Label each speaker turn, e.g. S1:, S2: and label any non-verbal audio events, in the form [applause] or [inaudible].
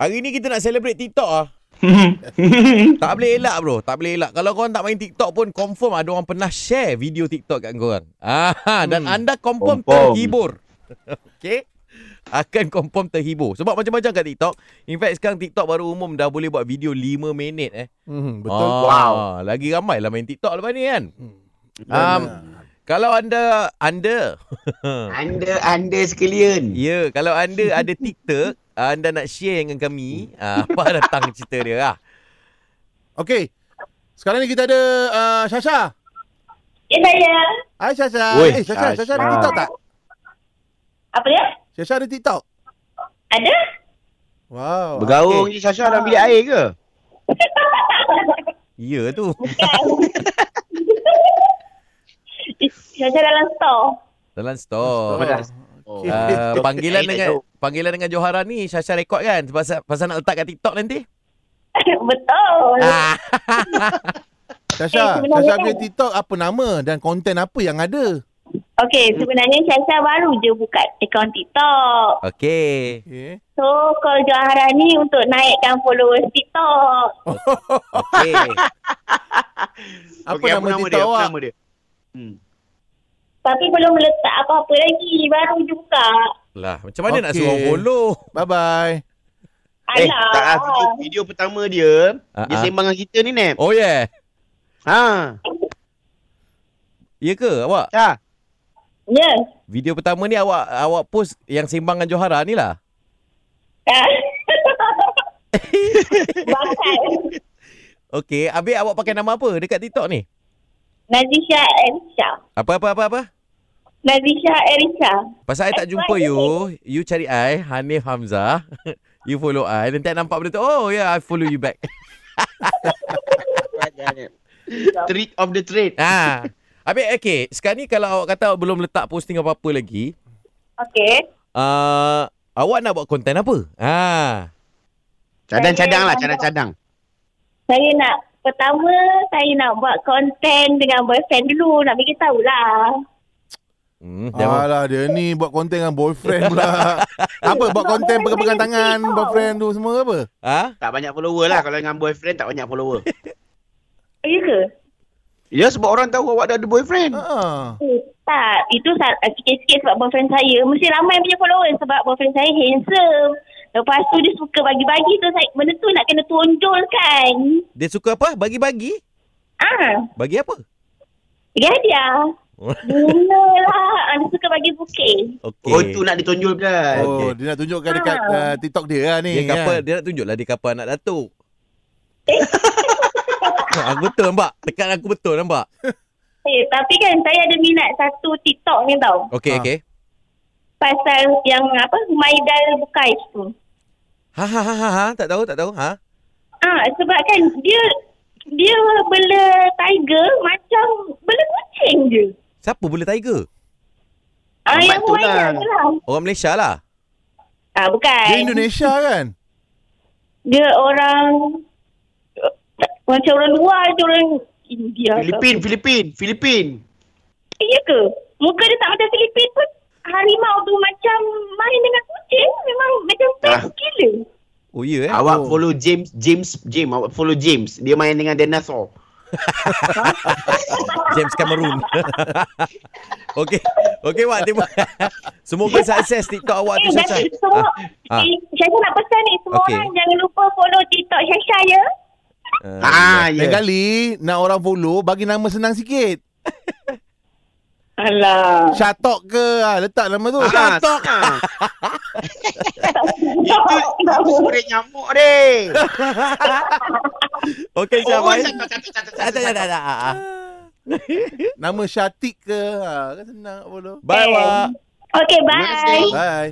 S1: Hari ni kita nak celebrate TikTok
S2: [laughs]
S1: ah. Tak boleh elak bro Tak boleh elak Kalau korang tak main TikTok pun Confirm ada orang pernah share Video TikTok kat korang ah, Dan
S2: Hmm.
S1: anda confirm,
S3: Confirm.
S1: terhibur [laughs] Okay Akan confirm terhibur Sebab macam-macam kat TikTok In fact sekarang TikTok baru umum Dah boleh buat video 5 minit eh
S2: Hmm, betul.
S1: ah,
S3: Wow.
S1: Lagi ramai lah main TikTok lepas ni kan
S2: Hmm.
S1: um, Kalau anda Anda [laughs]
S3: Anda anda sekalian.
S1: Ya, kalau anda ada TikTok, anda nak share dengan kami, ah, apa datang cerita dia lah.
S2: Okey. Sekarang ni kita ada uh, Sasha.
S4: Ya saya.
S2: Hai Sasha.
S3: Oi,
S2: eh Sasha, Sasha ada
S3: Sasha.
S4: Ah.
S2: TikTok tak?
S4: Apa dia?
S2: Sasha ada TikTok.
S4: Ada?
S2: Wow.
S3: Bergaung je Sasha dalam bilik air ke?
S1: Ya tu.
S4: Bukan. Sasha dalam store. [laughs]
S1: Dalam store.
S3: Store.
S2: Okey.
S3: Oh. [laughs]
S1: Uh, panggilan
S3: Eh,
S1: dengan
S3: tak
S1: panggilan dengan Johara ni Syasha rekod kan pasal pasal nak letak kat TikTok nanti.
S4: Betul.
S1: Ah,
S2: Sasha,
S4: Eh, sebenarnya
S2: Sasha
S4: kan-
S2: punya TikTok apa nama dan konten apa yang ada?
S3: Hmm.
S4: Okay, sebenarnya Sasha baru je buka akaun TikTok.
S1: okey.
S2: Okey.
S4: So, call Johara ni untuk naikkan followers TikTok.
S1: Okey.
S2: Apa
S3: Okey,
S2: nama TikTok
S3: dia? Apa
S2: awak?
S3: nama dia? Hmm.
S4: Tapi belum letak apa-apa lagi. Baru je buka.
S1: Lah, macam mana okay. nak
S2: Okey.
S1: suruh orang follow?
S2: Bye bye.
S3: Eh,
S4: Alah.
S3: tak lah. Video, video pertama dia,
S1: Ah,
S3: dia
S1: ah.
S3: sembang dengan kita ni, Nep.
S1: Oh yeah.
S3: Ha.
S1: Ya ke awak?
S3: Ha.
S4: Ya. [laughs]
S1: Video pertama ni awak awak post yang sembang dengan Johara ni lah.
S4: Ah. Bakat.
S1: Okey, habis awak pakai nama apa dekat TikTok ni?
S4: Nazisha Erisha.
S1: Apa apa apa apa?
S4: Nazisha Erisha.
S1: Pasal I tak jumpa you You cari I Hanif Hamzah [laughs] You follow I Nanti I nampak benda tu Oh yeah I follow you back
S3: Treat of the trade.
S1: ah. Habis okay Sekarang ni kalau awak kata awak Belum letak posting apa-apa lagi
S4: Okay.
S1: uh, Awak nak buat konten apa? Ah.
S3: Cadang-cadang lah, cadang-cadang.
S4: Saya nak pertama saya nak buat konten dengan boyfriend dulu nak bagi tahulah.
S1: Hmm,
S3: Ah.
S1: jangan.
S2: Alah dia ni buat konten dengan boyfriend
S4: [laughs]
S2: pula. apa buat konten pegang-pegang tangan boyfriend tu semua ke apa?
S1: Ah?
S3: Tak banyak follower lah. Kalau dengan boyfriend, tak banyak follower.
S4: Ya ke?
S3: Ya, sebab orang tahu awak dah ada boyfriend.
S2: Ha.
S4: Eh, tak, itu sa- eh, sikit-sikit sebab boyfriend saya. Mesti ramai punya followers sebab boyfriend saya handsome. Lepas tu dia suka bagi-bagi tu saya, benda tu nak kena tonjolkan.
S1: Dia suka apa? Bagi-bagi?
S4: Ah,
S1: Bagi apa?
S4: bagi hadiah. Bunga lah. Ah, Dia suka bagi bukit.
S1: Okay.
S3: Oh, tu nak ditonjolkan.
S2: Oh,
S1: Okey.
S2: dia nak tunjukkan dekat
S4: Ah.
S2: uh, TikTok dia lah
S1: Dia
S2: ni. kan?
S1: kapal,
S3: ya.
S1: dia nak tunjuk lah dia kapal anak datuk. [laughs] Ah, betul nampak? Tekan aku betul nampak?
S4: Eh, tapi kan saya ada minat satu TikTok ni tau.
S1: Okey,
S2: Ah.
S1: okey.
S4: Pasal yang apa, Humaidal Bukais tu.
S1: Ha ha ha ha, ha. tak tahu tak tahu ha.
S4: Ah, sebab kan dia dia bela tiger macam bela kucing je.
S1: Siapa boleh tiger?
S4: Ah,
S3: Lambat
S4: yang
S3: tu
S4: Humaira
S3: lah.
S4: tu lah.
S1: Orang Malaysia lah.
S4: Ah, bukan.
S2: Dia Indonesia kan?
S4: Dia orang eh, macam orang luar je orang India. ke.
S3: Filipin, Filipin, Filipin.
S4: Ya ke? Muka dia tak macam Filipin pun. Harimau tu macam main dengan kucing. Memang macam best
S3: Ah.
S4: gila.
S1: Oh ya yeah, eh.
S3: Awak
S2: Oh.
S3: follow James, James, James. Awak follow James. Dia main dengan dinosaur.
S1: James Cameron. [laughs] Okey. Okey Wak, terima. [laughs] Semoga sukses TikTok awak
S4: Eh,
S1: tu Sasha.
S4: jadi semua...
S1: Ah, ah.
S4: Eh, Syasha nak pesan ni. Semua
S1: Okey.
S4: orang jangan lupa follow TikTok Syasha ya.
S3: Ah, ya.
S2: Yeah. kali nak orang follow bagi nama senang sikit.
S4: Alah.
S2: Shatok ke ah, letak nama tu.
S3: Ah,
S1: Katok.
S3: ah. Itu
S4: Oh,
S3: itu surat nyamuk deh.
S1: Okey,
S3: Oh,
S1: Syah.
S3: tak, tak, tak, tak,
S1: Tak
S3: tak,
S1: tak tak
S3: tak.
S1: tak. tak, ah, ah.
S2: Nama Syatik ke. Ah, kan senang nak follow.
S1: Bye
S4: Eh.
S1: Wak.
S4: Okay,
S3: Terima kasih.
S4: bye.
S2: Bye.